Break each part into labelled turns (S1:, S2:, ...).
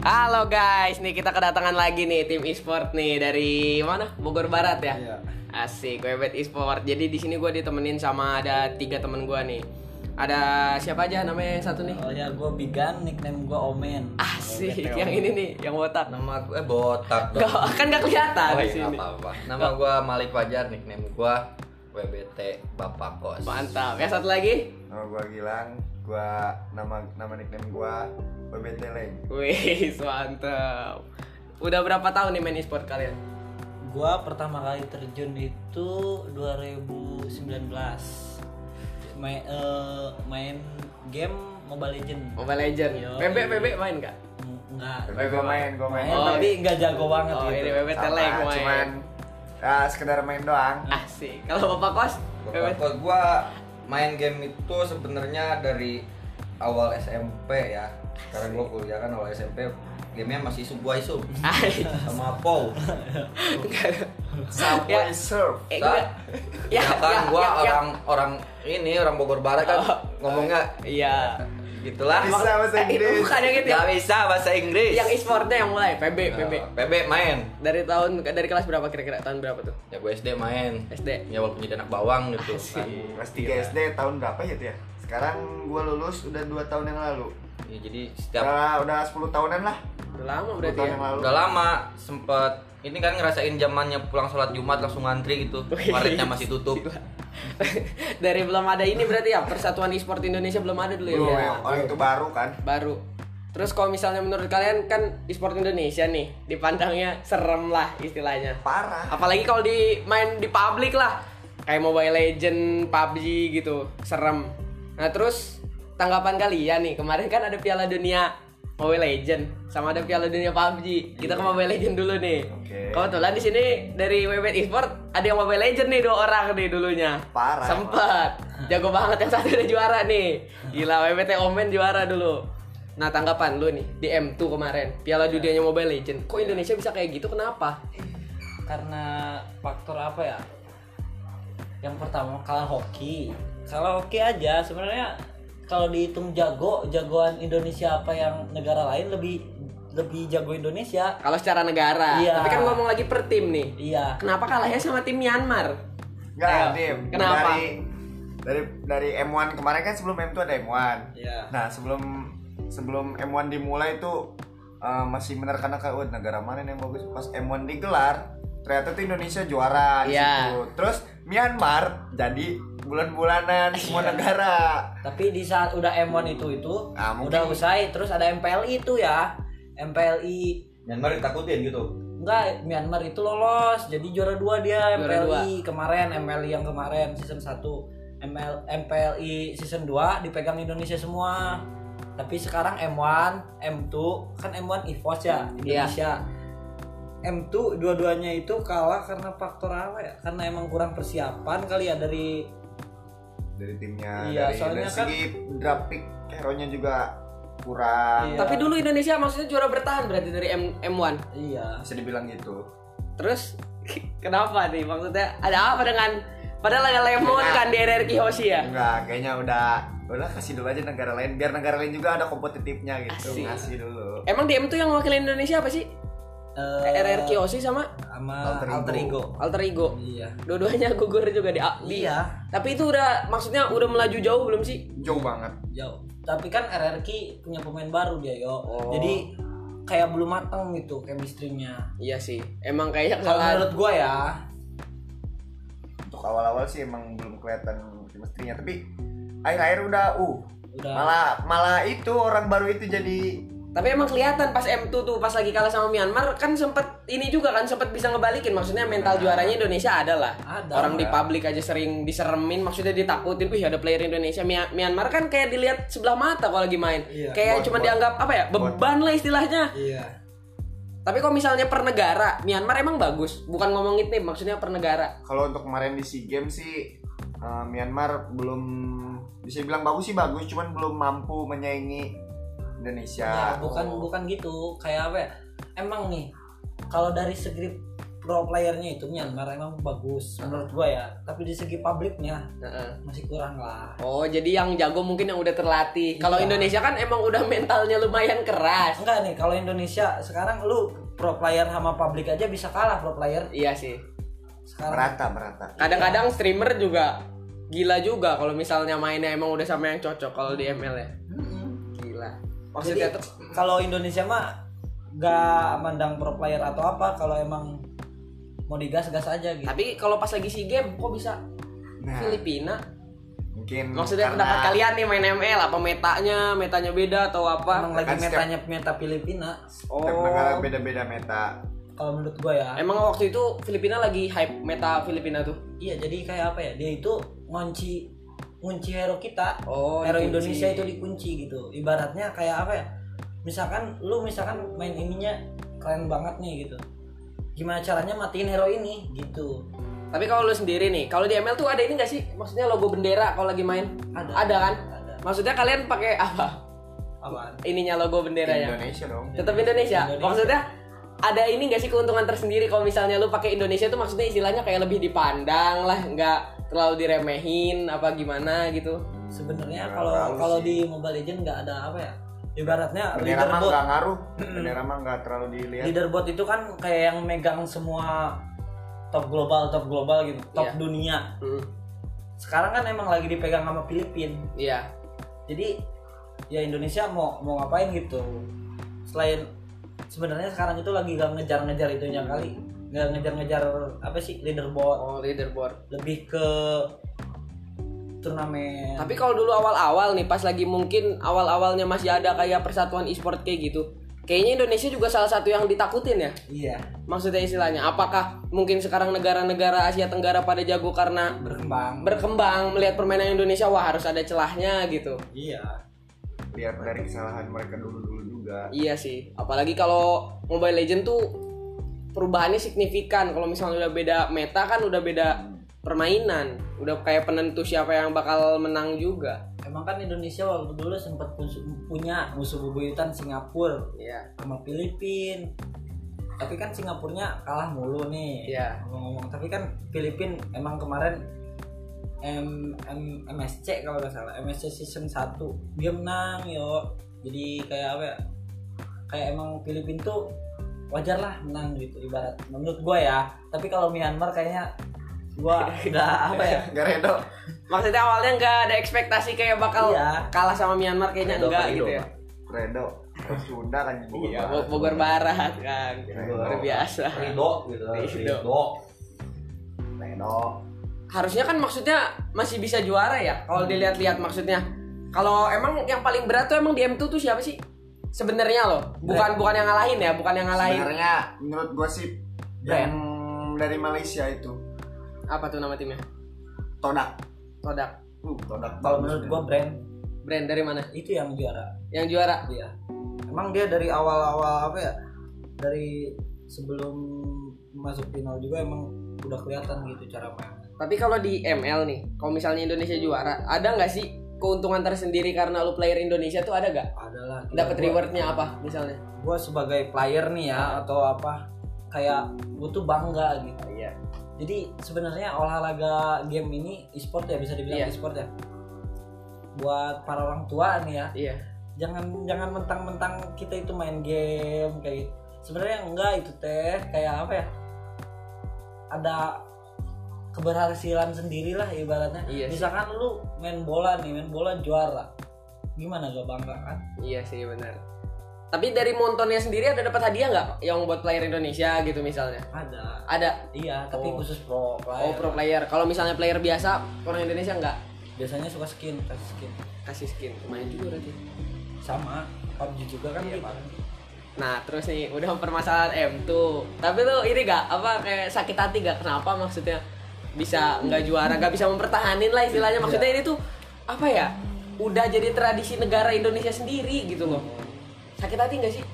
S1: Halo guys, nih kita kedatangan lagi nih tim e-sport nih dari mana? Bogor Barat ya.
S2: Iya.
S1: Asik, Webet e-sport. Jadi di sini gue ditemenin sama ada tiga temen gue nih. Ada siapa aja namanya yang satu nih?
S2: Oh ya, gue Bigan, nickname gue Omen.
S1: Asik, yang ini nih, yang botak.
S3: Nama gue eh, botak dong.
S1: Gak, kan gak kelihatan
S3: Oh,
S1: di
S3: iya,
S1: sini.
S3: apa-apa. Nama gue Malik Fajar, nickname gue WBT Bapak Kos.
S1: Mantap. Yang satu lagi?
S4: Nama gua Gilang, gua nama nama nickname gua BBT Leng.
S1: Wih, mantap. Udah berapa tahun nih main e-sport kalian?
S2: Gue pertama kali terjun itu 2019. Main, eh, main game Mobile Legend.
S1: Mobile Legend.
S2: Yo.
S1: PB PB main gak?
S2: Enggak.
S4: Tapi gua main, gua main.
S2: Main
S1: Oh,
S3: iya.
S2: tapi nggak jago banget
S1: Oh,
S2: gitu.
S1: ini Webet
S4: Sama,
S1: Teleng main.
S4: cuman ah, sekedar main doang.
S1: Asik. Kalau Bapak Kos?
S3: Bapak Kos gue main game itu sebenarnya dari awal SMP ya. Sekarang gue kuliah kan awal SMP gamenya masih sebuah isu
S1: Asik.
S3: sama Pow.
S1: Ya.
S4: Subway Surf.
S1: Eh,
S3: Sa-
S1: Ya,
S3: Ya, kan
S1: ya, ya, Oh.
S3: gue
S1: ya.
S3: orang orang ini orang Bogor Barat kan ngomongnya
S1: Iya.
S3: gitulah.
S4: Bisa bahasa
S1: Eh,
S4: Inggris.
S1: Bukan yang itu. ya.
S3: Gak bisa bahasa Inggris.
S1: Yang e-sportnya yang mulai PB PB.
S3: PB main.
S1: Dari tahun dari kelas berapa kira-kira? Tahun berapa tuh?
S3: ya gue SD main
S1: SD.
S3: ya walaupun jadi anak bawang gitu kan
S1: Iya.
S4: Kelas 3 SD tahun berapa ya itu ya? Sekarang gua lulus udah 2 tahun yang lalu.
S3: ya, jadi setiap
S4: Udah, udah 10 tahunan lah.
S1: Udah lama
S4: 10
S1: berarti
S4: tahun
S1: ya.
S4: yang lalu.
S3: udah lama sempet ini kan ngerasain zamannya pulang sholat Jumat langsung ngantri gitu warnetnya masih tutup
S1: dari belum ada ini berarti ya Persatuan e-sport Indonesia belum ada dulu ya.
S4: Belum,
S1: Bro?
S4: yang- orang Iya. itu baru kan.
S1: Baru. Terus kalau misalnya menurut kalian kan e-sport Indonesia nih dipandangnya serem lah istilahnya.
S4: Parah.
S1: Apalagi kalau di main di publik lah. Kayak Mobile Legend, PUBG gitu, serem. Nah, terus tanggapan kalian nih, kemarin kan ada Piala Dunia Mobile Legend sama ada Piala Dunia PUBG. Kita ke Mobile Legend dulu nih.
S4: Iya. Oke.
S1: Kebetulan di sini dari Webet Esport ada yang Mobile Legend nih dua orang nih dulunya.
S4: Parah.
S1: Sempet. Jago banget yang satu udah juara nih. Gila WBT Omen juara dulu. Nah, tanggapan lu nih di M2 kemarin, Piala
S4: Iya.
S1: Dunianya Mobile Legend. Kok Indonesia bisa kayak gitu? Kenapa?
S2: Karena faktor apa ya? Yang pertama kalah hoki. Kalau hoki aja sebenarnya kalau dihitung jago, jagoan Indonesia apa yang negara lain lebih lebih jago Indonesia.
S1: Kalau secara negara.
S2: Iya.
S1: Tapi kan ngomong lagi per tim nih.
S2: Iya.
S1: Kenapa kalahnya sama tim Myanmar? Ayo,
S4: Enggak, Dim.
S1: kenapa?
S4: Dari dari dari M1 kemarin kan sebelum M2 ada M1.
S2: Iya.
S4: Nah, sebelum sebelum M1 dimulai itu eh, masih menerka-nerka "Wah, negara mana nih yang bagus. Pas M1 digelar, ternyata tuh Indonesia juara di
S1: Iya.
S4: situ. Terus Myanmar jadi
S2: Iya.
S4: bulan-bulanan semua negara.
S2: Tapi di saat udah M1 itu itu
S4: Ah, mungkin.
S2: udah usai terus ada MPLI itu ya. MPLI
S3: Myanmar ditakutin gitu
S2: enggak Myanmar itu lolos jadi juara dua dia
S1: Juara
S2: MPLI kemarin MPLI yang kemarin season 1 ML MPLI season 2 dipegang Indonesia semua tapi sekarang M1 M2 kan M1 EVOS ya
S4: Iya.
S2: Indonesia M2 dua-duanya itu kalah karena faktor apa ya karena emang kurang persiapan kali ya dari
S4: Dari timnya,
S2: Iya,
S4: dari,
S2: soalnya
S4: dari segi draft pick hero-nya juga kurang.
S2: Iya.
S1: Tapi dulu Indonesia maksudnya juara bertahan berarti dari M M1.
S2: iya
S4: Bisa dibilang gitu.
S1: Terus kenapa nih? Maksudnya ada apa dengan padahal ada lemon kan di RRQ Hoshi
S2: Iya.
S1: ya?
S4: Enggak, kayaknya udah udah kasih dulu aja negara lain biar negara lain juga ada kompetitifnya
S1: Asik.
S4: gitu. Kasih dulu.
S1: Emang DM tuh yang wakilin Indonesia apa sih?
S2: Eh,
S1: RRQ Hoshi sama
S2: sama
S4: Alter
S2: alter
S4: ego.
S2: ego,
S1: Alter Ego.
S2: iya
S1: Dua-duanya gugur juga di, di-
S2: Iya.
S1: Tapi itu udah maksudnya udah melaju jauh belum sih?
S4: Jauh banget.
S2: jauh tapi kan RRQ punya pemain baru dia yo jadi kayak belum matang gitu chemistry-nya
S1: Iya sih. Emang kayaknya
S2: kalau
S1: kalah.
S2: menurut gua ya
S4: Untuk awal-awal sih emang belum kelihatan chemistry-nya, tapi akhir-akhir udah uh.
S2: Udah.
S4: Malah malah itu orang baru itu jadi
S1: Tapi emang kelihatan pas M2 tuh pas lagi kalah sama Myanmar kan sempet ini juga kan sempet bisa ngebalikin maksudnya mental juaranya Indonesia ada lah.
S2: Ada.
S1: Orang di publik aja sering diseremin maksudnya ditakutin wih ada player Indonesia Mya- Myanmar kan kayak dilihat sebelah mata kalau lagi main.
S2: Iya.
S1: Kayak
S4: Buat-
S1: cuma
S4: buat-
S1: dianggap apa ya? beban lah istilahnya.
S2: iya
S1: Tapi kalau misalnya per negara Myanmar emang bagus, bukan ngomongin tim maksudnya per negara.
S4: kalau untuk kemarin di SEA Games sih eh, Myanmar belum bisa bilang bagus sih bagus, cuman belum mampu menyaingi Indonesia.
S1: Ya,
S2: Nah,
S4: Oh,
S2: ya? bukan bukan gitu kayak apa ya emang nih kalau dari segi pro playernya itu Myanmar emang bagus menurut gua ya tapi di segi publiknya
S1: Heeh.
S2: masih kurang lah
S1: Oh, jadi yang jago mungkin yang udah terlatih. Kalau
S2: Iya.
S1: Indonesia kan emang udah mentalnya lumayan keras.
S2: enggak nih kalau Indonesia sekarang lu pro player sama publik aja bisa kalah pro player
S1: Iya sih.
S2: sekarang
S4: merata merata
S1: Kadang-kadang streamer juga gila juga kalau misalnya mainnya emang udah sama yang cocok kalau di ML ya. Gila. Maksudnya
S2: Jadi,
S1: tuh
S2: kalau Indonesia mah gak mandang pro player atau apa kalau emang mau digas gas aja gitu
S1: tapi kalau pas lagi SEA game kok bisa
S4: nah
S1: Filipina?
S4: mungkin
S1: Maksudnya
S4: karena
S1: pendapat kalian nih main ML apa metanya, metanya beda atau
S2: emang
S1: apa? Oh.
S2: lagi
S4: kan setiap-
S2: metanya meta Filipina
S4: setiap negara beda-beda meta
S2: kalau menurut gua ya
S1: Emang waktu itu Filipina lagi hype meta Filipina tuh.
S2: iya jadi kayak apa ya dia itu ngunci ngunci hero kita
S1: Oh,
S2: hero
S1: dikunci.
S2: Indonesia itu dikunci gitu ibaratnya kayak apa ya misalkan lu misalkan main ininya keren banget nih gitu gimana caranya matiin hero ini gitu
S1: Tapi kalau lu sendiri nih, kalau di ML tuh ada ini gak sih? Maksudnya logo bendera kalau lagi main?
S2: Ada.
S1: Ada kan?
S2: Ada.
S1: Maksudnya kalian pakai apa?
S2: apaan
S1: Ininya logo ya? benderanya.
S4: Indonesia dong
S1: Tetap Indonesia.
S2: Indonesia.
S1: Maksudnya ada ini gak sih keuntungan tersendiri kalau misalnya lu pakai Indonesia tuh maksudnya istilahnya kayak lebih dipandang lah, nggak terlalu diremehin apa gimana gitu.
S2: sebenarnya
S4: Nggak
S2: kalau
S4: tahu
S2: kalau
S4: sih.
S2: di Mobile Legend nggak ada apa ya ibaratnya leader
S4: bendera mah
S2: bot
S4: nggak ya. ngaruh bendera mah nggak terlalu dilihat
S2: leader bot itu kan kayak yang megang semua top global top global gitu top
S1: Iya.
S2: dunia
S1: Hmm,
S2: sekarang kan emang lagi dipegang sama Filipina
S1: Iya.
S2: jadi ya Indonesia mau mau ngapain gitu selain sebenarnya sekarang itu lagi gak ngejar-ngejar itunya kali nggak ngejar-ngejar apa sih leaderboard
S1: Oh, leaderboard.
S2: lebih ke turnamen
S1: Tapi kalau dulu awal-awal nih pas lagi mungkin awal-awalnya masih ada kayak persatuan e-sport kayak gitu. Kayaknya Indonesia juga salah satu yang ditakutin ya.
S2: iya
S1: Maksudnya istilahnya apakah mungkin sekarang negara-negara Asia Tenggara pada jago karena
S2: berkembang
S1: berkembang melihat permainan Indonesia wah harus ada celahnya gitu.
S2: iya
S4: lihat dari kesalahan mereka dulu dulu juga
S1: Iya sih. Apalagi kalau Mobile Legend tuh perubahannya signifikan. Kalau misalnya udah beda meta kan udah beda permainan, udah kayak penentu siapa yang bakal menang juga.
S2: emang kan Indonesia waktu dulu sempat punya musuh bebuyutan Singapura
S1: Iya.
S2: sama Filipina tapi kan Singapurnya kalah mulu nih
S1: Iya.
S2: ngomong-ngomong tapi kan Filipin emang kemarin M, M- MSC kalau nggak salah MSC season 1 dia menang yo jadi kayak apa ya kayak emang Filipin tuh wajar lah menang gitu ibarat menurut gua ya tapi kalau Myanmar kayaknya gua nggak apa ya
S4: nggak redo
S1: Maksudnya awalnya nggak ada ekspektasi kayak bakal
S2: Iya.
S1: kalah sama Myanmar kayaknya
S3: Udah
S1: enggak
S3: kali
S1: gitu
S3: dong,
S1: ya.
S4: redo Terus Sunda kan Bogor
S1: Iya,
S4: Barat.
S1: Bogor Barat kan. Luar biasa.
S3: Rido gitu
S1: Ridho.
S3: Ridho.
S4: redo
S1: harusnya kan maksudnya masih bisa juara ya kalau dilihat-lihat maksudnya kalau emang yang paling berat tuh emang di M2 tuh siapa sih sebenarnya loh bukan bukan yang ngalahin ya bukan yang ngalahin
S4: sebenarnya menurut gua sih yang dari Malaysia itu
S1: apa tuh nama timnya
S4: Todak
S1: Todak
S4: uh Todak
S2: kalau
S4: bagus
S2: menurut
S4: deh.
S2: gua brand
S1: brand dari mana
S2: itu yang juara
S1: yang juara
S2: dia ya, emang dia dari awal-awal apa ya dari sebelum masuk final juga emang udah kelihatan gitu cara main
S1: tapi kalau di ML nih kalau misalnya Indonesia juara ada nggak sih keuntungan tersendiri karena lu player Indonesia tuh ada gak
S2: adalah
S1: dapat rewardnya apa misalnya
S2: gue sebagai player nih ya atau apa kayak gue tuh bangga gitu
S1: iya
S2: jadi sebenarnya olahraga game ini e-sport ya bisa dibilang
S1: Iya.
S2: e-sport ya buat para orang tua nih ya
S1: iya
S2: jangan jangan mentang-mentang kita itu main game kayak gitu. sebenarnya enggak itu teh kayak apa ya ada keberhasilan sendirilah ibaratnya
S1: Iya sih.
S2: misalkan lu main bola nih main bola juara gimana gak bangga kan
S1: iya sih benar tapi dari montonnya sendiri ada dapat hadiah nggak yang buat player Indonesia gitu misalnya
S2: ada
S1: ada
S2: iya tapi
S1: Oh.
S2: khusus pro
S1: Oh
S2: player
S1: pro player. Kalau misalnya player biasa orang Indonesia nggak
S2: biasanya suka skin kasih skin
S1: kasih skin. Lumayan juga berarti.
S2: sama PUBG juga kan
S1: Iya,
S2: gitu.
S1: Nah terus nih udah permasalahan M tuh. Tapi lu ini gak apa kayak sakit hati gak kenapa maksudnya bisa nggak juara nggak bisa mempertahanin lah
S2: Iya.
S1: istilahnya maksudnya ini tuh apa ya udah jadi tradisi negara Indonesia sendiri gitu loh sakit hati nggak sih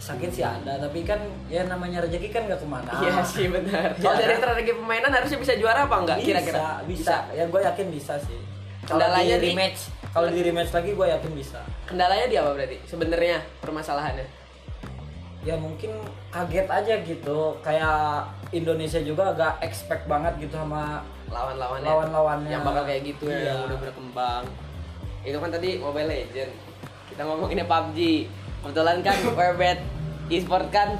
S2: sakit sih ada tapi kan ya namanya rezeki kan gak kemana
S1: iya sih benar kalau
S2: Iya.
S1: dari strategi pemainan harusnya bisa juara apa nggak
S2: bisa,
S1: kira-kira
S2: bisa ya gue yakin bisa sih
S1: Kendalanya
S2: kalau
S1: di-
S2: di rematch kalau di rematch lagi gue yakin bisa
S1: kendalanya dia apa berarti sebenarnya permasalahannya
S2: ya mungkin kaget aja gitu kayak Indonesia juga agak expect banget gitu sama
S1: lawan-lawannya
S2: Lawan-lawannya.
S1: yang bakal kayak gitu
S2: Iya.
S1: yang udah berkembang itu kan tadi Mobile Legend kita ya ngomonginnya PUBG kebetulan kan Webet e-sport kan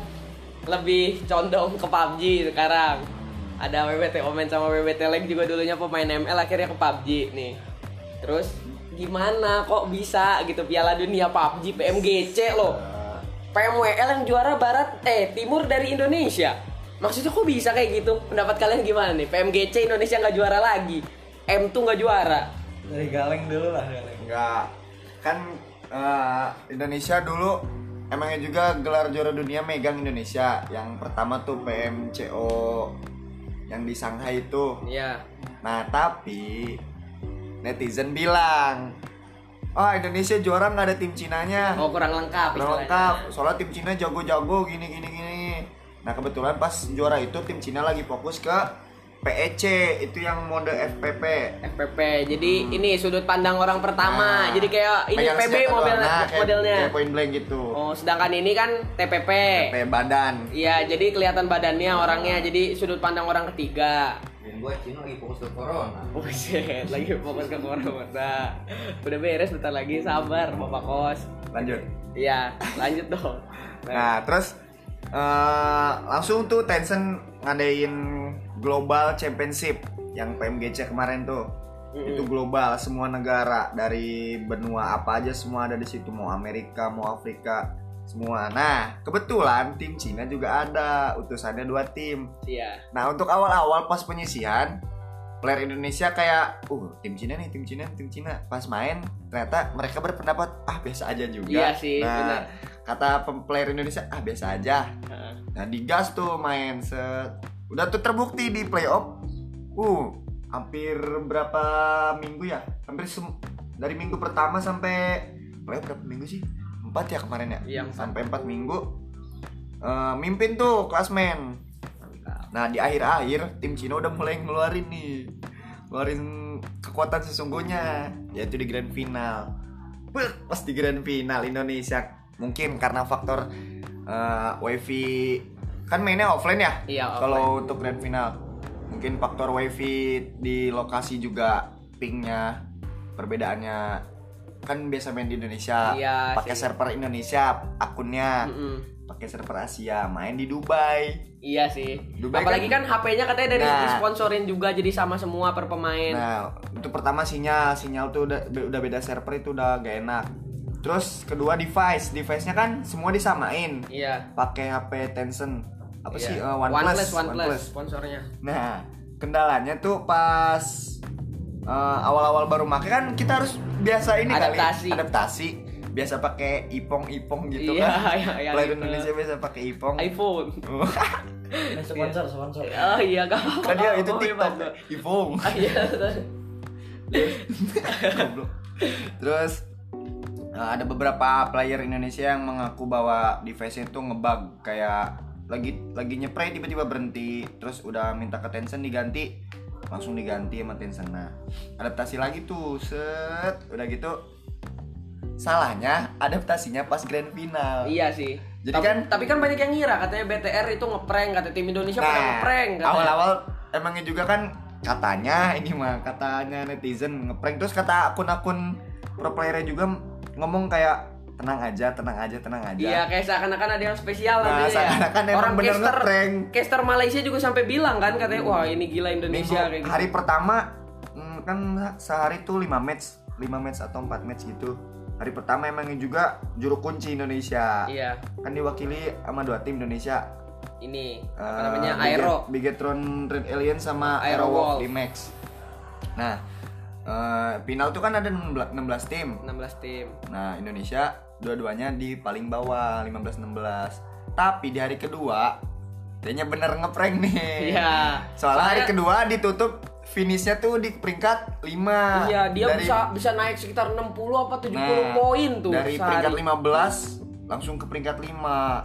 S1: lebih condong ke PUBG sekarang ada WBT Omen sama WBT Leg juga dulunya pemain ML akhirnya ke PUBG nih terus gimana kok bisa gitu Piala Dunia PUBG PMGC loh
S4: Eh,
S1: PMWL yang juara barat eh timur dari Indonesia. Maksudnya kok bisa kayak gitu? Pendapat kalian gimana nih? PMGC Indonesia nggak juara lagi. M tuh nggak juara.
S2: dari galeng dulu lah galeng
S4: Enggak. Kan eh, Indonesia dulu emangnya juga gelar juara dunia megang Indonesia. Yang pertama tuh PMCO yang di Shanghai itu.
S1: Iya.
S4: Nah, tapi netizen bilang, "Oh, Indonesia juara nggak ada tim Cinanya."
S1: Oh kurang lengkap.
S4: Kurang
S1: istilahnya.
S4: lengkap. Soalnya tim Cina jago-jago gini gini gini. Nah, kebetulan pas juara itu tim Cina lagi fokus ke PEC, itu yang mode FPP.
S1: FPP. Jadi ini sudut pandang orang pertama.
S4: Hmm. Nah,
S1: Jadi kayak ini
S4: pegang
S1: PB
S4: senjata doang.
S1: modelnya.
S4: Nah, kayak-
S1: modelnya.
S4: kayak point blank gitu.
S1: Oh sedangkan ini kan TPP.
S4: Kayak badan.
S1: Iya. Jadi kelihatan badannya orangnya. Jadi sudut pandang orang ketiga.
S3: Dan gue Cino lagi fokus ke corona.
S1: Buset, lagi fokus ke corona. Udah beres bentar lagi, sabar Bapak Kos.
S4: Lanjut.
S1: Iya, lanjut dong.
S4: Nah, terus eh, langsung tuh Tencent ngadain Global Championship yang PMGC kemarin tuh. Itu global semua negara dari benua apa aja semua ada di situ mau Amerika, mau Afrika, semua. Nah, kebetulan tim Cina juga ada, utusannya dua tim.
S1: Iya.
S4: Nah, untuk awal-awal pas penyisihan player Indonesia kayak uh tim Cina nih tim Cina tim Cina pas main ternyata mereka berpendapat ah biasa aja juga
S1: Iya sih, benar.
S4: nah kata pem- player Indonesia ah biasa aja
S1: Heeh.
S4: nah digas tuh main set udah tuh terbukti di playoff uh hampir berapa minggu ya hampir sem- dari minggu pertama sampai playoff berapa minggu sih empat ya kemarin ya
S1: Iya, empat.
S4: sampai empat minggu Eh, mimpin tuh klasmen
S1: Mantap.
S4: Nah di akhir-akhir tim Cina udah mulai ngeluarin nih Ngeluarin kekuatan sesungguhnya Yaitu di grand final Bek, Pas di grand final Indonesia Mungkin karena faktor eh, wifi Kan mainnya offline ya
S1: Iya,
S4: Kalau untuk grand final Mungkin faktor wifi di lokasi juga Pingnya Perbedaannya Kan biasa main di Indonesia
S1: Iya sih.
S4: Pakai
S1: Hmm.
S4: server Indonesia akunnya
S1: Mm-mm.
S4: Pakai server Asia Main di Dubai
S1: Iya sih.
S4: Dubai
S1: Apalagi kan, HP-nya katanya dari
S4: Nah.
S1: disponsorin juga jadi sama semua per pemain.
S4: Nah, untuk pertama sinyal, sinyal tuh udah be- udah beda server itu udah gak enak. Terus kedua device, device-nya kan semua disamain.
S1: Iya.
S4: Pakai HP Tencent. Apa
S1: Iya.
S4: sih? Eh, OnePlus,
S1: OnePlus, OnePlus,
S4: OnePlus.
S1: sponsornya.
S4: Nah, kendalanya tuh pas eh, awal-awal baru make kan kita harus biasa ini
S1: Adaptasi.
S4: kali, adaptasi. Biasa pakai ipong-ipong gitu
S1: Iya,
S4: kan.
S1: iya, iya,
S4: Player
S1: gitu.
S4: Indonesia biasa pakai ipong.
S1: iPhone.
S2: Ini sponsor sponsor
S1: Oh iya, gak apa-apa.
S4: Kan dia
S1: gak
S4: itu
S1: apa-apa,
S4: TikTok,
S1: bebas.
S4: ipong.
S1: Ah, Iya.
S4: Goblok. Terus eh, ada beberapa player Indonesia yang mengaku bahwa device-nya itu ngebug kayak lagi lagi nyepray tiba-tiba berhenti terus udah minta ke Tencent diganti langsung diganti sama Tencent nah adaptasi lagi tuh set udah gitu salahnya adaptasinya pas grand final
S1: Iya sih.
S4: Jadi
S1: tapi,
S4: kan-
S1: tapi kan banyak yang ngira katanya BTR itu ngeprank kata tim Indonesia pada ngeprank katanya.
S4: Nah, awal-awal emangnya juga kan katanya ini mah katanya netizen ngeprank terus kata akun-akun pro player juga ngomong kayak tenang aja tenang aja tenang aja
S1: Iya, kayak seakan-akan ada yang spesial
S4: nah
S1: nantinya ya.
S4: seakan-akan emang bener
S1: caster,
S4: ngeprank
S1: caster Malaysia juga sampai bilang kan katanya, wah ini gila Indonesia
S4: Minggu-
S1: kayak gitu.
S4: hari pertama mm, kan sehari tuh 5 match 5 match atau 4 match gitu hari pertama emangnya juga juru kunci Indonesia
S1: Iya,
S4: kan diwakili sama dua tim Indonesia
S1: ini apa
S4: Eh,
S1: namanya
S4: Biget-
S1: Aero.
S4: Bigetron Red Alien sama
S1: Aerowolf.
S4: Aerowolf Limax. Nah, eh, final tuh kan ada 16, 16 tim.
S1: 16 tim.
S4: Nah, Indonesia dua-duanya di paling bawah 15-16. Tapi di hari kedua kayaknya bener ngeprank nih.
S1: Iya.
S4: Soalnya hari
S1: Soalnya-
S4: kedua ditutup finishnya tuh di peringkat 5.
S1: Iya, dia bisa bisa naik sekitar 60 apa 70 poin tuh
S4: Nah, Dari
S1: sehari.
S4: peringkat 15 langsung ke peringkat 5.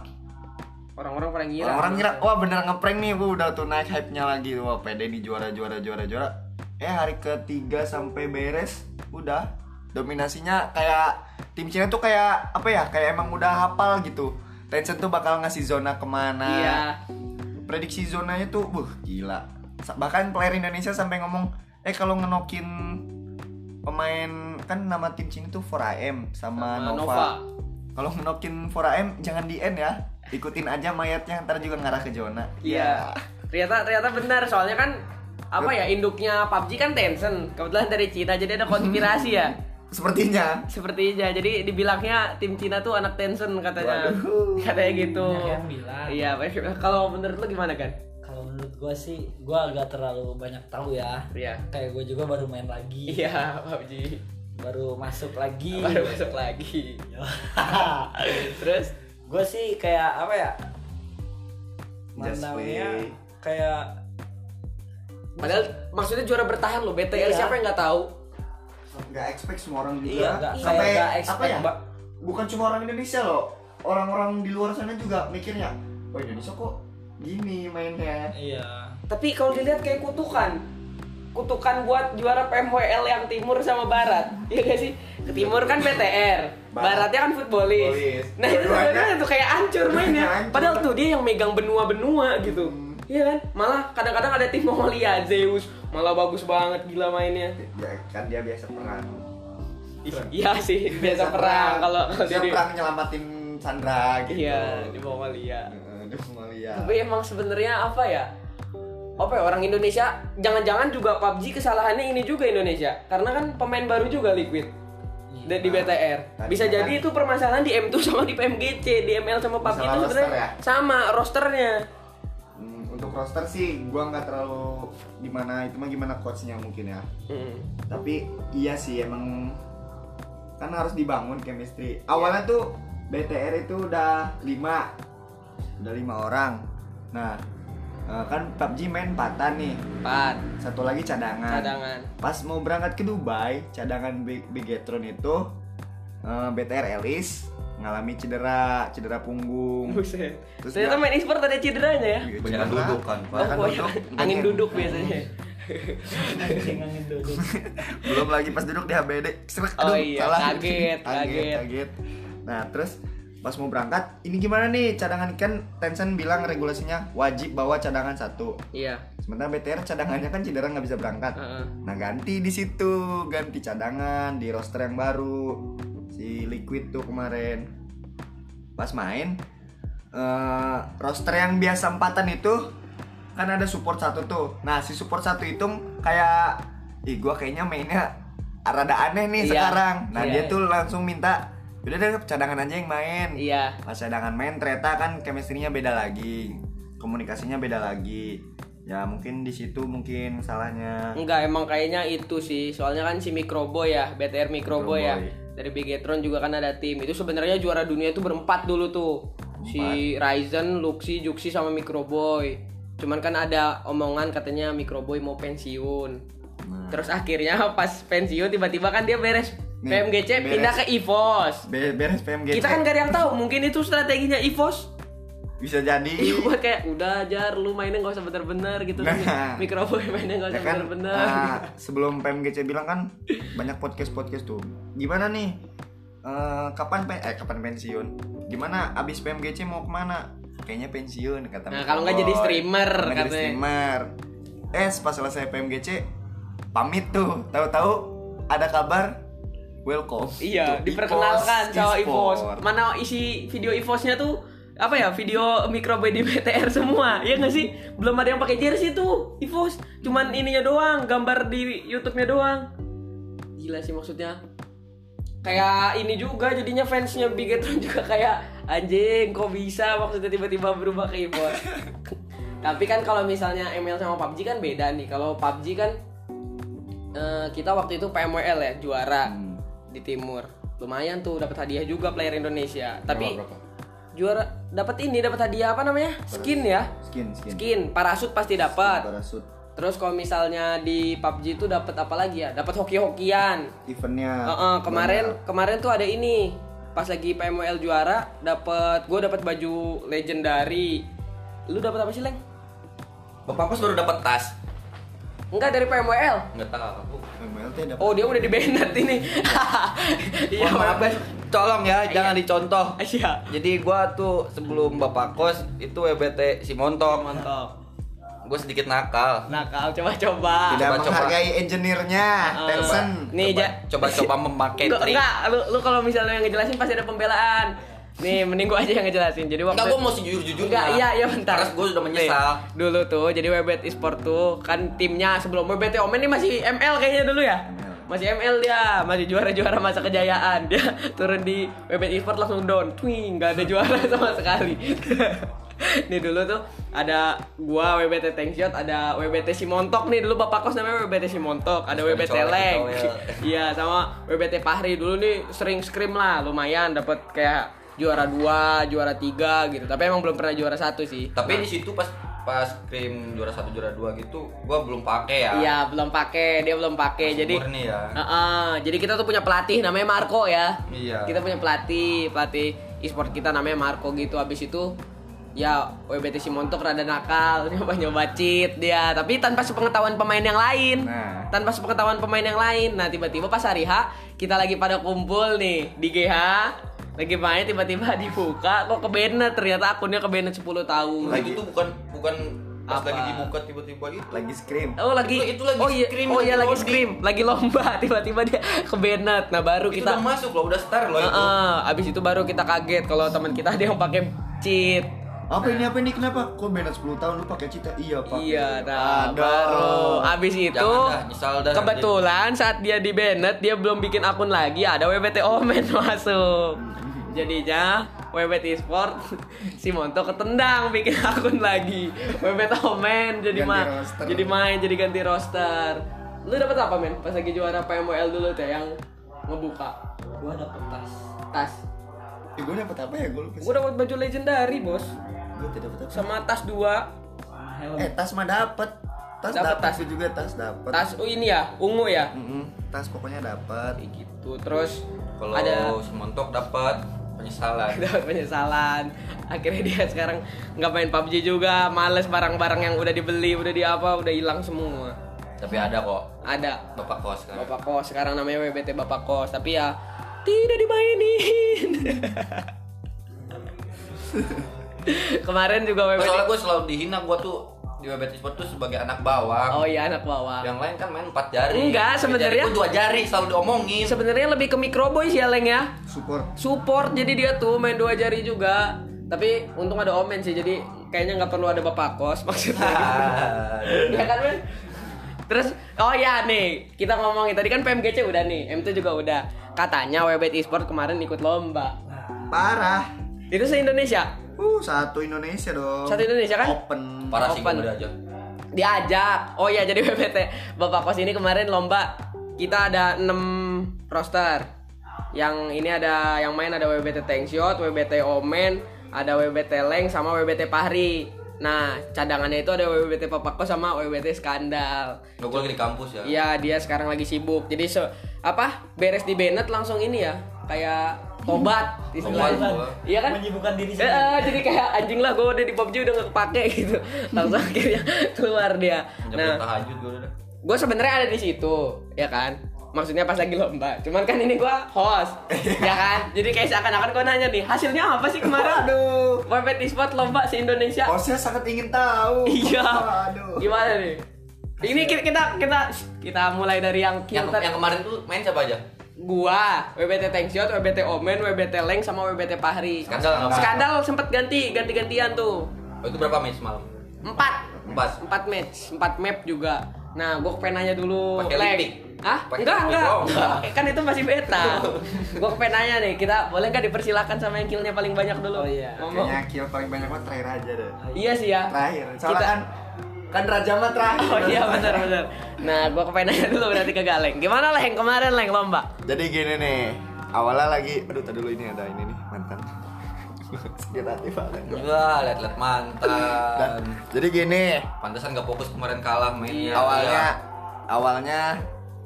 S1: Orang-orang pada ngira.
S4: Orang-orang ngira, oh, wah bener ngeprank nih, gua udah tuh naik hype-nya lagi Wah pede nih juara, juara, juara, juara Eh hari ketiga sampai beres, udah Dominasinya kayak, tim Cina tuh kayak, apa ya, kayak emang udah hafal gitu Tencent tuh bakal ngasih zona kemana
S1: Iya.
S4: prediksi zonanya tuh buh gila Sa- bahkan player Indonesia sampai ngomong eh kalau ngenokin pemain kan nama tim sini tuh 4AM sama,
S1: Sama
S4: Nova,
S1: Nova.
S4: kalau ngenokin 4AM jangan di end ya ikutin aja mayatnya ntar juga ngarah ke zona Ya,
S1: Iya. Ternyata ternyata benar soalnya kan apa ya induknya PUBG kan Tencent. Kebetulan dari Cina jadi ada konspirasi ya.
S4: sepertinya
S1: Sepertinya jadi dibilangnya tim Cina tuh anak Tencent katanya.
S4: Waduh.
S1: Katanya gitu.
S2: Banyak yang bilang.
S1: Iya, banyak- kalau menurut lu gimana kan?
S2: Kalau menurut gue sih, gue agak terlalu banyak tahu ya.
S1: Iya.
S2: Kayak gue juga baru main lagi,
S1: Iya, PUBG.
S2: baru masuk lagi.
S1: Baru masuk lagi. Terus
S2: gue sih kayak apa ya?
S4: Just
S2: Mandangnya
S4: wait.
S2: kayak
S1: padahal maksudnya juara bertahan loh BTL
S2: Iya.
S1: siapa yang nggak tahu?
S4: nggak expect semua orang juga
S2: Iya, nggak-
S4: sampai
S2: kayak nggak
S4: apa
S2: expect,
S4: ya
S2: Mbak.
S4: bukan cuma orang Indonesia loh orang-orang di luar sana juga mikirnya oh Indonesia kok gini mainnya
S2: iya.
S1: Tapi kalau dilihat kayak kutukan. Kutukan buat juara PMWL yang timur sama barat. Iya gak sih? Ke timur kan PTR,
S4: Barat.
S1: baratnya kan footballis.
S4: Footballis.
S1: Nah, itu
S4: Dua-duanya-
S1: sebenarnya tuh kayak hancur mainnya.
S4: Hancur. Hmm.
S1: Padahal tuh dia yang megang benua-benua gitu. Iya kan? Malah kadang-kadang ada tim Mongolia, Zeus, malah bagus banget gila mainnya.
S4: ya kan dia biasa perang
S1: Ih, Iya sih, biasa perang kalau kalau
S4: dia
S1: di-
S4: perang nyelamatin Sandra gitu ya.
S1: Iya, di Mongolia.
S4: Heeh, di ya. Somalia
S1: Tapi emang sebenarnya apa ya? Apa ya, orang Indonesia jangan-jangan juga PUBG kesalahannya ini juga Indonesia. Karena kan pemain baru juga Liquid. Di, di BTR.
S4: Iya. Tadi
S1: Bisa
S4: kan-
S1: jadi itu permasalahan di M2 sama di PMGC, di ML sama PUBG
S4: Masalah
S1: itu sebenarnya
S4: roster ya?
S1: sama rosternya.
S4: Hmm, untuk roster sih gua nggak terlalu gimana itu mah gimana coachnya mungkin ya
S1: Hmm.
S4: tapi iya sih emang kan harus dibangun chemistry awalnya
S1: Iya.
S4: tuh BTR itu udah 5 udah lima orang nah eh, kan PUBG main empatan nih
S1: Empat
S4: satu lagi cadangan
S1: cadangan.
S4: pas mau berangkat ke Dubai cadangan Big- Bigetron itu eh, BTR Elis ngalami cedera cedera punggung
S1: Buset.
S4: Terus
S1: Ternyata
S4: dia-
S1: main e-sport ada cederanya ya.
S4: Iya,
S3: Banyakan
S4: cedera.
S3: duduk kan, Pak.
S4: Banyakan
S1: Oh, iya. angin
S4: Banyak.
S1: duduk biasanya.
S2: Anjing angin duduk.
S4: belum lagi pas duduk di HBD serak
S1: Oh iya, kaget, kaget.
S4: nah terus pas mau berangkat ini gimana nih cadangan kan Tencent bilang regulasinya wajib bawa cadangan satu
S1: Iya.
S4: sementara BTR cadangannya kan cedera nggak bisa berangkat
S1: Heeh.
S4: nah ganti di situ ganti cadangan di roster yang baru si Liquid tuh kemarin pas main eh, roster yang biasa empatan itu kan ada support satu tuh nah si support satu itu kayak ih gua kayaknya mainnya rada aneh
S1: Iya.
S4: nih sekarang nah
S2: Iya.
S4: dia tuh langsung minta udah deh cadangan aja yang main
S1: Iya.
S4: pas cadangan main ternyata kan chemistry-nya beda lagi komunikasinya beda lagi ya mungkin di situ mungkin salahnya
S1: Enggak, emang kayaknya itu sih. Soalnya kan si Microboy ya, BTR Microboy,
S4: Microboy.
S1: ya. Dari Bigetron juga kan ada tim. Itu sebenarnya juara dunia itu berempat dulu tuh. Si Ryzen, Luxi, Juxi sama Microboy. Cuman kan ada omongan katanya Microboy mau pensiun.
S4: Nah,
S1: Terus akhirnya pas pensiun tiba-tiba kan dia beres
S4: Nih,
S1: PMGC
S4: beres.
S1: pindah ke EVOS.
S4: Be- beres PMG
S1: Kita kan gak ada yang tahu, mungkin itu strateginya EVOS.
S4: bisa jadi
S1: Iya, Buat kayak udah jar lu mainnya nggak usah bener-bener gitu.
S4: Nah.
S1: Microboy mainnya nggak
S4: ya
S1: usah
S4: kan
S1: bener-bener.
S4: ah, sebelum PMGC bilang kan banyak podcast podcast tuh gimana nih Eh, kapan pe- eh kapan pensiun gimana abis PMGC mau kemana kayaknya pensiun kata
S1: Nah,
S4: Mas
S1: kalau nggak
S4: Boy.
S1: jadi streamer,
S4: Nggak jadi
S1: katanya.
S4: streamer eh pas selesai PMGC pamit tuh tahu-tahu ada kabar welcome
S1: Iya,
S4: Tuh,
S1: diperkenalkan
S4: Ipos,
S1: cowok
S4: e-sport.
S1: Ivos. Mana isi video Ivosnya tuh apa ya video microboy di BTR semua ya nggak sih belum ada yang pakai jersey tuh Ivos cuman ininya doang gambar di YouTube-nya doang gila sih maksudnya kayak ini juga jadinya fansnya Bigetron juga kayak anjing kok bisa maksudnya tiba-tiba berubah ke Ivos tapi kan kalau misalnya ML sama PUBG kan beda nih kalau PUBG kan eh, kita waktu itu PMWL ya juara
S4: Hmm.
S1: di timur lumayan tuh dapat hadiah juga player Indonesia tapi
S3: berapa?
S1: juara dapat ini dapat hadiah apa namanya skin ya
S4: skin skin,
S1: skin parasut pasti dapat
S4: parasut
S1: terus kalau misalnya di PUBG itu dapat apa lagi ya dapat hoki-hokian
S4: eventnya
S1: Heeh, kemarin kemarin tuh ada ini pas lagi PML juara dapat gue dapat baju legendary lu dapat apa sih leng
S3: Bapakku baru dapat tas.
S1: enggak dari PML
S3: Enggak tahu.
S4: MLT dapat
S1: oh dia udah di banned ini iya
S4: Mohon maaf, Bas.
S3: tolong ya jangan dicontoh
S1: Iya.
S3: jadi gua tuh sebelum bapak kos itu E WBT si montok
S1: Mantap.
S3: gue sedikit nakal
S1: Nakal coba-coba.
S4: Tidak
S3: coba.
S4: menghargai engineer-nya, Tenson.
S1: Ah, Nih,
S3: coba,
S1: Ja.
S3: coba-coba memakai
S1: Enggak,
S3: trik
S1: enggak, lu, lu kalau misalnya yang ngejelasin pasti ada pembelaan. Nih, mending gua aja yang ngejelasin. Jadi waktu
S3: Enggak, gua mau sejujur-jujurnya.
S1: Enggak, iya, iya bentar.
S3: Karena gua sudah menyesal.
S1: Nih, dulu tuh, jadi Webet Esport tuh kan timnya sebelum Webet Omen ini masih ML kayaknya dulu ya. Masih ML dia, masih juara-juara masa kejayaan. Dia turun di Webet Esport langsung down. Twing, enggak ada juara sama sekali. nih dulu tuh ada gua WBT Tankshot, ada WBT Simontok nih dulu Bapak Kos namanya WBT Simontok, ada
S3: Suka
S1: WBT
S3: dicolek,
S1: Leng.
S3: dicolek.
S1: Iya sama WBT Fahri dulu nih sering scrim lah lumayan dapat kayak juara dua, juara tiga gitu. Tapi emang belum pernah juara satu sih.
S3: tapi di situ pas pas krim juara satu juara dua gitu gua belum pakai ya
S1: Iya belum pakai dia belum pakai jadi. Ah.
S3: murni ya
S1: Heeh, jadi kita tuh punya pelatih namanya Marco ya.
S3: Iya.
S1: Kita punya pelatih pelatih e-sport kita namanya Marco gitu. Habis itu ya WBT Simontok rada nakal nyoba nyoba cheat dia tapi tanpa sepengetahuan pemain yang lain
S4: Nah.
S1: tanpa sepengetahuan pemain yang lain nah tiba-tiba pas hari H kita lagi pada kumpul nih di GH lagi main tiba-tiba dibuka kok ke banner ternyata akunnya ke banner 10 tahun
S3: Nah, itu tuh bukan bukan pas
S1: Apa?
S3: lagi dibuka tiba-tiba gitu. itu
S4: Lagi scream.
S1: Oh lagi
S3: Itu- itu lagi
S1: oh iya
S3: scrim,
S1: oh
S3: lagi
S1: iya lagi
S3: loading.
S1: scream lagi lomba tiba-tiba dia ke Bennett nah baru
S3: itu
S1: kita Ah,
S3: udah masuk loh udah star loh itu
S1: Heeh, abis itu baru kita kaget kalau teman kita ada yang pakai cheat
S4: Apa ini apa ini kenapa? Kok beda 10 tahun lu pakai cita? Iya, Pak.
S1: iya Ah. nah
S4: Ada.
S1: baru abis itu
S3: Jangan dah, nyesal dah.
S1: kebetulan saat dia di Bennett dia belum bikin akun lagi ada WBT Omen masuk jadinya WBT Sport si Monto ketendang bikin akun lagi WBT Omen jadi
S4: Ganti
S1: main
S4: roster.
S1: jadi main jadi ganti roster lu dapat apa men pas lagi juara PMOL dulu teh yang ngebuka
S2: Gua dapet tas.
S1: tas
S4: Eh, gue dapet apa ya? Gue lupa.
S1: gua dapat baju legendary bos
S4: Gue tidak dapet apa.
S1: sama tas dua
S2: Sama helm.
S4: Eh, tas mah dapet. Tas
S1: Dapet,
S4: dapet,
S1: tas.
S4: Gua juga tas dapet.
S1: tas oh, ini ya ungu ya
S4: Mm-mm, tas pokoknya dapet.
S1: gitu terus
S3: kalau
S1: ada
S3: semontok dapat penyesalan
S1: dapat penyesalan akhirnya dia sekarang nggak main PUBG juga males barang-barang yang udah dibeli udah di apa udah hilang semua
S3: tapi ada kok
S1: ada
S3: bapak kos kan
S1: bapak kos sekarang namanya WBT bapak kos tapi ya tidak dimainin kemarin juga
S3: soalnya
S1: WBT
S3: gue selalu dihina gue tuh di WBT Sport tuh sebagai anak bawang
S1: oh iya anak bawah
S3: yang lain kan main empat jari
S1: Enggak,
S3: Tiga
S1: sebenarnya-
S3: jari gua dua jari selalu diomongin
S1: sebenarnya lebih ke microboy sih ya Leng ya
S4: Support.
S1: support jadi dia tuh main dua jari juga tapi untung ada omen sih jadi kayaknya nggak perlu ada bapak kos maksudnya
S3: Ah.
S1: ya kan men terus oh ya nih kita ngomongin tadi kan PMGC udah nih M2 juga udah katanya Webet Esport kemarin ikut lomba
S4: Parah.
S1: itu se Indonesia
S4: Uh, satu Indonesia dong.
S1: Satu Indonesia, kan?
S4: Open.
S3: parah sih
S1: Open.
S3: gue aja
S1: diajak oh ya jadi WBT bapak kos ini kemarin lomba kita ada 6 roster yang ini ada yang main ada WBT Tankshot, WBT Omen, ada WBT Leng sama WBT Pahri. Nah, cadangannya itu ada WBT Papakos sama WBT Skandal.
S3: Nggak, gue lagi di kampus ya
S1: Iya, dia sekarang lagi sibuk. Jadi se apa? Beres di Bennett langsung ini ya, kayak tobat
S3: Tobat
S1: istilahnya.
S3: gua.
S1: Iya kan?
S2: Menyibukkan
S1: Eh,
S2: diri sendiri.
S1: eh, jadi kayak anjing lah gue udah di PUBG udah gak kepake gitu langsung akhirnya keluar dia
S3: Menjaga
S1: nah
S3: tahajud gue udah
S1: gue sebenarnya ada di situ ya kan maksudnya pas lagi lomba cuman kan ini gue host ya kan jadi kayak seakan-akan gue nanya nih hasilnya apa sih kemarin
S4: Aduh.
S1: Webet Esport lomba se Indonesia
S4: Hostnya Oh, sangat ingin tahu.
S1: iya
S4: Aduh.
S1: gimana nih ini kita kita kita, kita mulai dari yang
S3: yang,
S1: kita-
S3: yang kemarin tuh main siapa aja
S1: gua WBT Tankshot, WBT Omen, WBT Leng sama WBT Pahri.
S3: Skandal nggak apa-apa.
S1: Skandal sempet ganti ganti-gantian tuh.
S3: oh, itu berapa match malam
S1: Empat
S3: empat
S1: empat match, empat map juga. Nah, gue kepengen nanya dulu.
S3: Pakai
S1: Leng.
S3: litik?
S1: Hah?
S3: Pakai
S1: enggak,
S3: litik
S1: enggak.
S3: doang, enggak.
S1: Kan itu masih beta. gue kepengen nanya nih, kita boleh nggak dipersilakan sama yang killnya paling banyak dulu?
S2: Oh, iya.
S1: Ngomong.
S4: Kayaknya kill paling banyak mah terakhir aja deh.
S1: Iya sih ya.
S4: Terakhir. Soalnya
S1: Kita-
S4: kan kan raja mah terakhir.
S1: Oh iya benar benar. Nah, gue kepengen nanya dulu berarti ke Galeng. Gimana Leng kemarin Leng lomba?
S4: Jadi gini nih, awalnya lagi, aduh tadi dulu ini ada ini nih mantan. Sakit hati banget.
S3: Wah, liat-liat
S4: Dan-
S3: mantan
S4: Nah, Jadi gini,
S3: Pantesan gak fokus kemarin kalah
S1: Iya.
S3: mainnya
S4: awalnya
S3: iya.
S4: awalnya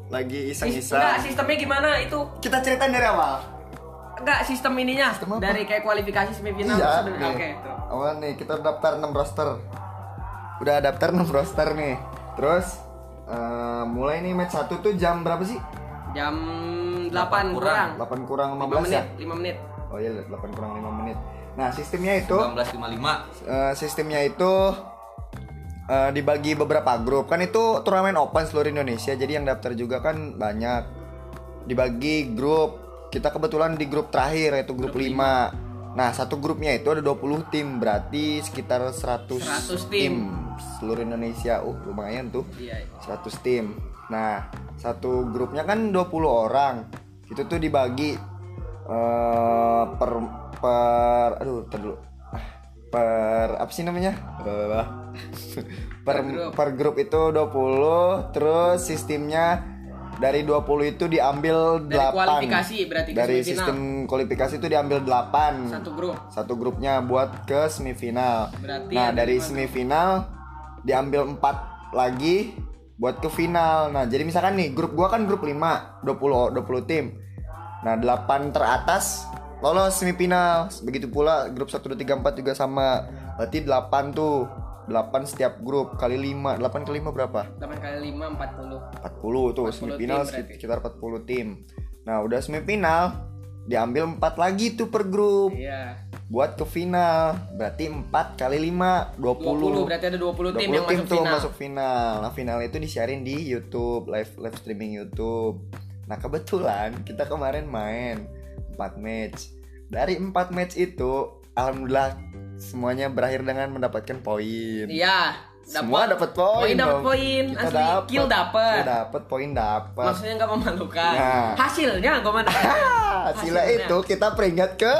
S4: lagi
S1: Enggak,
S4: iseng-iseng.
S1: sistemnya gimana itu?
S4: Kita ceritain dari awal.
S1: Enggak, sistem ininya
S4: Sistem apa?
S1: dari kayak kualifikasi semifinal
S4: iya.
S1: sebelum-
S4: nih.
S1: Oke. tuh.
S4: Awal nih kita daftar 6 roster. Udah daftar 6 roster nih. Terus eh, mulai nih match 1 tuh jam berapa sih?
S1: Jam 12 8 kurang.
S4: 8 kurang
S1: 5
S4: 15 ya?
S1: menit, 5 menit.
S4: Oh iya, 8 kurang 5 menit. Nah, sistemnya itu
S3: 1955
S4: eh, sistemnya itu eh, dibagi beberapa grup. Kan itu turnamen open seluruh Indonesia. Jadi yang daftar juga kan banyak. Dibagi grup. Kita kebetulan di grup terakhir yaitu grup, 5. Nah, satu grupnya itu ada 20 tim, berarti sekitar 100,
S1: 100 tim.
S4: seluruh Indonesia. Uh, lumayan tuh.
S1: Iya.
S4: 100 tim. Nah, satu grupnya kan 20 orang. Itu tuh dibagi eh, per per aduh, ntar dulu. Ah, Per apa sih namanya? Blablabla. per per grup itu 20, terus sistemnya dari 20 itu diambil 8.
S1: Dari kualifikasi berarti ke
S4: Dari
S1: semifinal.
S4: sistem kualifikasi itu diambil 8
S1: Satu grup.
S4: satu grupnya buat ke semifinal.
S1: Berarti
S4: nah
S1: ada
S4: dari
S1: lima
S4: semifinal diambil empat lagi buat ke final. Nah jadi misalkan nih grup gua kan grup 5 20 20 tim. Nah 8 teratas lolos semifinal. Begitu pula grup 1 2 3 4 juga sama. Berarti 8 tuh. 8 setiap grup kali 5. 8 kali 5 berapa?
S1: 8 kali 5 40.
S4: 40 tuh
S1: 40
S4: semifinal
S1: tim berarti.
S4: sekitar 40 tim. Nah, udah semifinal diambil 4 lagi tuh per grup
S1: Iya.
S4: buat ke final berarti 4 kali 5
S1: 20
S4: 20
S1: berarti ada 20 tim
S4: 20
S1: yang masuk
S4: tuh
S1: final.
S4: masuk final nah final itu disiarin di YouTube live live streaming YouTube nah kebetulan kita kemarin main 4 match dari 4 match itu alhamdulillah semuanya berakhir dengan mendapatkan poin
S1: Iya,
S4: semua dapat poin
S1: Poin dapat
S4: dong.
S1: poin,
S4: Kita
S1: asli
S4: dapet.
S1: kill dapat.
S4: Kill dapat poin dapat
S1: Maksudnya nggak memalukan.
S4: Nah.
S1: Hasilnya nggak memalukan.
S4: Ah, Sila
S1: Hasilnya.
S4: itu kita peringkat ke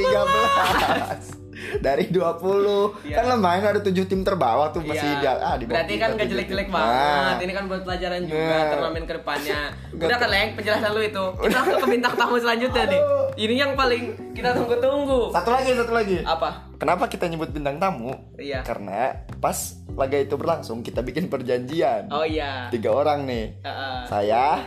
S4: 13 dari 20
S1: Iya.
S4: kan lumayan ada 7 tim terbawah tuh masih
S1: Iya.
S4: di ah di bawah
S1: Berarti
S4: kita
S1: kan nggak
S4: tujuh
S1: jelek-jelek
S4: tim.
S1: banget.
S4: Nah,
S1: Ini kan buat pelajaran juga
S4: Nah.
S1: turnamen ke depannya.
S4: Nggak
S1: Udah
S4: tuh.
S1: kan Leng, penjelasan lu itu. Kita langsung ke bintang tamu selanjutnya nih.
S4: Aduh.
S1: Ini yang paling kita tunggu-tunggu.
S4: satu lagi satu lagi
S1: Apa?
S4: kenapa kita nyebut bintang tamu
S1: Iya.
S4: karena pas laga itu berlangsung kita bikin perjanjian
S1: Oh iya.
S4: tiga orang nih
S1: Heeh.
S4: saya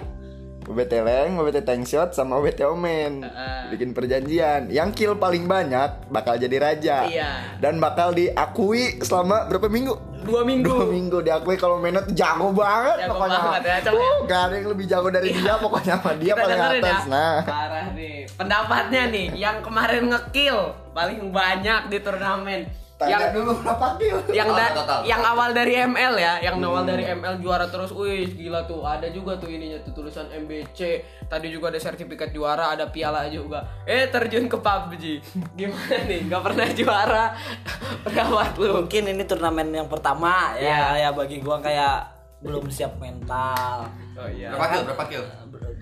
S4: BBT Leng, BBT Tank Shot, sama BBT Omen
S1: Heeh.
S4: Bikin perjanjian Yang kill paling banyak bakal jadi raja
S1: Iya.
S4: Dan bakal diakui selama berapa minggu?
S1: Dua minggu.
S4: Dua minggu diakui kalau Menot jago banget
S1: Jago
S4: pokoknya.
S1: banget ya, Cang, ya.
S4: Uh, gak ada yang lebih jago dari dia pokoknya sama dia
S1: Kita
S4: Iya, paling
S1: dengerin
S4: atas.
S1: ya.
S4: Nah,
S1: Parah nih. Pendapatnya nih yang kemarin ngekill paling banyak di turnamen.
S4: tanya
S1: Yang
S4: dulu berapa kill?
S1: yang
S3: Total,
S1: da-
S3: total.
S1: yang awal dari ML ya, yang awal dari ML juara terus. Wih, gila tuh. Ada juga tuh ininya tuh tulisan MBC. Tadi juga ada sertifikat juara, ada piala juga. Eh, terjun ke PUBG. Gimana nih? Gak pernah juara. Perawat lu.
S2: mungkin ini turnamen yang pertama ya
S1: Iya.
S2: ya bagi gua kayak belum siap mental
S1: Oh iya.
S3: berapa kill berapa kill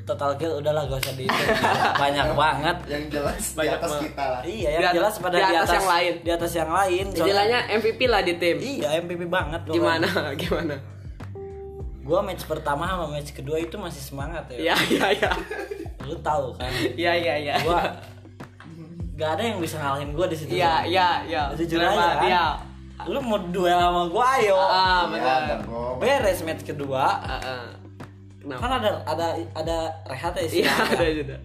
S2: total kill udahlah gak usah dihitung banyak banget
S4: Yang jelas di atas kita lah.
S2: iya
S1: Di
S2: yang
S1: atas-
S2: jelas pada
S1: di
S2: di
S1: atas
S2: atas,
S1: yang lain.
S2: di atas yang lain soalnya-
S1: Istilahnya MVP lah di tim.
S2: iya MVP banget gua.
S1: Gimana? Gimana?
S2: gua match pertama sama match kedua itu masih semangat ya,
S1: Ya, ya, ya.
S2: lu tahu kan
S1: Ya, ya, ya.
S2: gua gak ada yang bisa ngalahin gua di situ
S1: Iya, iya, iya.
S2: jujur
S1: Bener
S2: aja
S1: banget,
S2: kan
S1: Iya.
S2: lu mau duel sama gua ayo
S1: Ah,
S4: Iya,
S1: benar.
S4: jago.
S2: beres match kedua
S1: Ah, ah. Kenapa?
S2: kan ada ada ada rehat ya
S1: Iya,
S2: istilahnya.
S1: ada juga.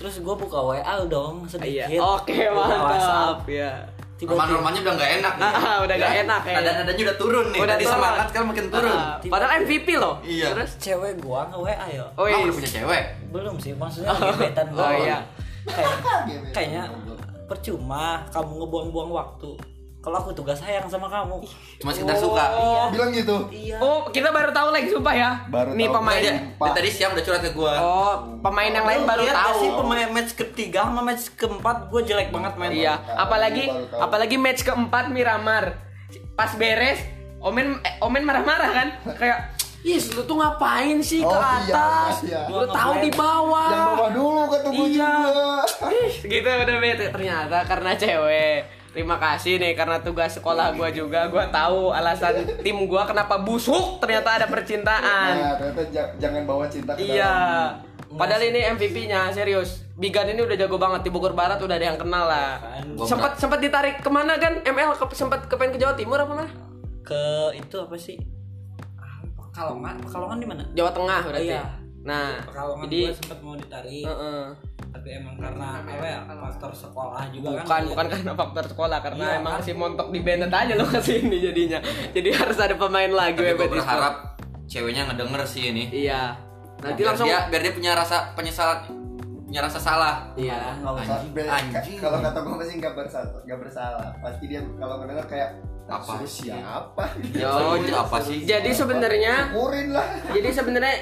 S2: terus gue buka WA dong
S1: Iya.
S2: sedikit
S1: Oke,
S2: Buka WhatsApp.
S1: mantap. Ya.
S2: tiba-tiba
S3: roman-romannya udah nggak enak nih
S1: Ah, udah nggak enak ya.
S3: nada nadanya udah turun nih udah tadi
S1: turun.
S3: semangat kan makin turun
S1: Ah, padahal MVP loh.
S3: Iya.
S1: Terus
S2: cewek gua nge WA ya
S1: oh
S3: Emang
S1: iya.
S3: udah punya cewek
S2: belum sih maksudnya gebetan gua
S1: Oh, iya.
S2: kayak kayaknya percuma kamu ngebuang-buang waktu kalau aku tugas sayang sama kamu
S3: cuma sekedar suka
S1: Oh,
S4: Bilang gitu.
S2: iya
S1: oh, kita baru tahu lagi sumpah ya.
S4: Baru
S1: Nih
S4: tahu.
S1: pemain.
S3: dia, dia tadi siang udah curhat ke gua
S1: Oh, pemain yang lain
S2: Lu
S1: baru
S2: lihat gak
S1: tahu.
S2: sih pemain match ketiga sama match keempat gue jelek banget main
S1: Iya, apalagi
S4: Baru tahu.
S1: apalagi match keempat Miramar. Pas beres, Omen eh, Omen marah-marah kan? Kayak Yes, lu tuh ngapain sih ke
S4: Oh, iya,
S1: atas?
S4: iya.
S1: Lu tahu di bawah.
S4: Yang bawah dulu kata gue
S1: Iya.
S4: juga.
S1: Ih, gitu udah bete ternyata karena cewek. Terima kasih nih karena tugas sekolah gua juga gua tahu alasan tim gua kenapa busuk ternyata ada percintaan.
S4: Nah, ternyata ja- jangan bawa cinta ke
S1: Iya.
S4: dalam.
S1: Padahal ini MVP-nya serius. Bigan ini udah jago banget di Bogor Barat udah ada yang kenal lah.
S2: Kan.
S1: Sempat sempat ditarik kemana kan? ML ke, sempat kepen ke Jawa Timur apa mana?
S2: ke itu apa sih Ah, Pekalongan Pekalongan di mana
S1: Jawa Tengah berarti.
S2: Iya.
S1: Nah,
S2: Pekalongan
S1: jadi Eh,
S2: gue sempet mau ditarik
S1: Heeh.
S2: tapi emang karena apa ya faktor sekolah juga
S1: bukan
S2: kan
S1: bukan karena faktor sekolah karena
S2: Iya,
S1: emang
S2: kan?
S1: si montok di banned aja lo kesini jadinya jadi harus ada pemain lagi
S3: tapi gua
S1: Webet Esports.
S3: berharap ceweknya ngedenger sih ini
S1: iya Nanti
S3: biar
S1: langsung
S3: dia, biar dia punya rasa penyesalan punya rasa salah
S1: Iya.
S2: nggak usah
S3: Anjing.
S5: Be- ka- Kalau kata gue masih nggak bersalah, nggak bersalah. Pasti dia kalau mendengar kayak
S3: Apa
S5: "Suruh
S3: sih?"
S5: Siapa?
S3: Ya, ini apa sih?
S1: Jadi sebenarnya
S5: Syukurin lah.
S1: jadi sebenarnya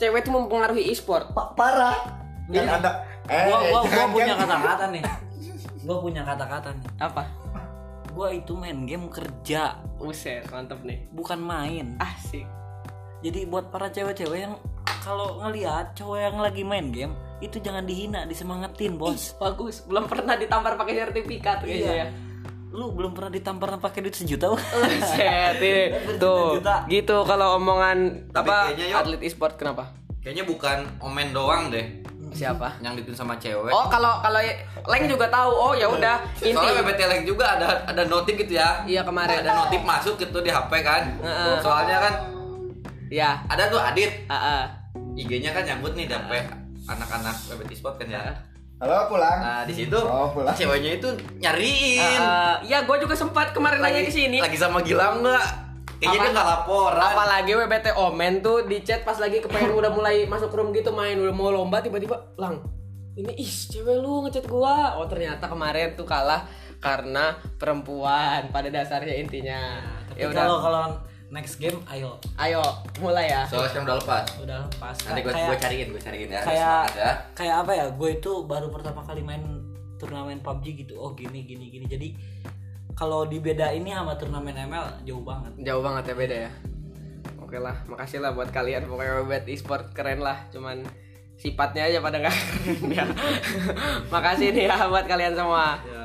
S1: cewek itu mempengaruhi e-sport.
S5: Pa- parah.
S1: Iya.
S5: Yang
S4: Kan
S5: ada. Eh,
S2: gua gua, gua
S5: jangan,
S2: punya
S5: jangan.
S2: kata-kata nih gua punya kata-kata nih
S1: Apa?
S2: gua itu main game kerja
S1: Buset, mantep nih.
S2: bukan main
S1: Asik.
S2: jadi buat para cewek-cewek yang kalau ngelihat cowok yang lagi main game itu jangan dihina disemangatin bos
S1: Bagus. Belum pernah ditampar pakai sertifikat
S2: Iya.
S1: kayaknya ya.
S2: lu belum pernah ditampar pakai duit sejuta Bang.
S1: Buset, ini. Tuh.
S2: Berjuta-juta.
S1: Gitu kalau omongan
S3: Tapi
S1: apa
S3: kayaknya, Yok.
S1: atlet e-sport kenapa?
S3: kayaknya bukan omen doang deh
S1: Siapa?
S3: yang dituin sama cewek
S1: Oh, kalau kalau Leng juga tahu. Oh, ya udah. Inti.
S3: Soalnya BBT Link juga ada ada notif gitu ya.
S1: Iya, kemarin.
S3: ada notif masuk gitu di HP kan.
S1: Heeh.
S3: Soalnya kan
S1: Ya.
S3: ada tuh Adit
S1: Heeh.
S3: IG-nya kan nyambut nih di HP anak-anak BBT Sport kan ya.
S5: Halo pulang.
S3: Nah, di situ
S5: Oh, pulang.
S3: ceweknya itu nyariin.
S1: ya gue juga sempat kemarin nanya ke sini.
S3: Lagi sama Gilang enggak? Kayaknya
S1: Apa-
S3: dia enggak laporan.
S1: Apalagi WBT Omen tuh di chat pas lagi kepengen udah mulai masuk room gitu main udah mau lomba tiba-tiba lang ini ih cewek lu ngechat gua. Oh ternyata kemarin tuh kalah karena perempuan pada dasarnya intinya.
S2: Nah, tapi
S1: Ya
S2: kalau
S1: udah.
S2: kalau next game ayo
S1: Ayo mulai ya.
S3: Soalnya sekarang udah lepas.
S2: udah lepas
S3: Nanti gue
S2: Kayak-
S3: gue cariin, gue cariin ya.
S2: kayak
S3: Semangat ya.
S2: kayak apa ya gue itu baru pertama kali main turnamen PUBG gitu oh gini gini gini jadi kalau dibeda ini sama turnamen ML jauh banget
S1: Jauh banget ya beda ya. Oke lah, makasih lah buat kalian pokoknya WBT e-sport keren lah, cuman sifatnya aja pada nggak keren ya. makasih nih ya buat kalian semua.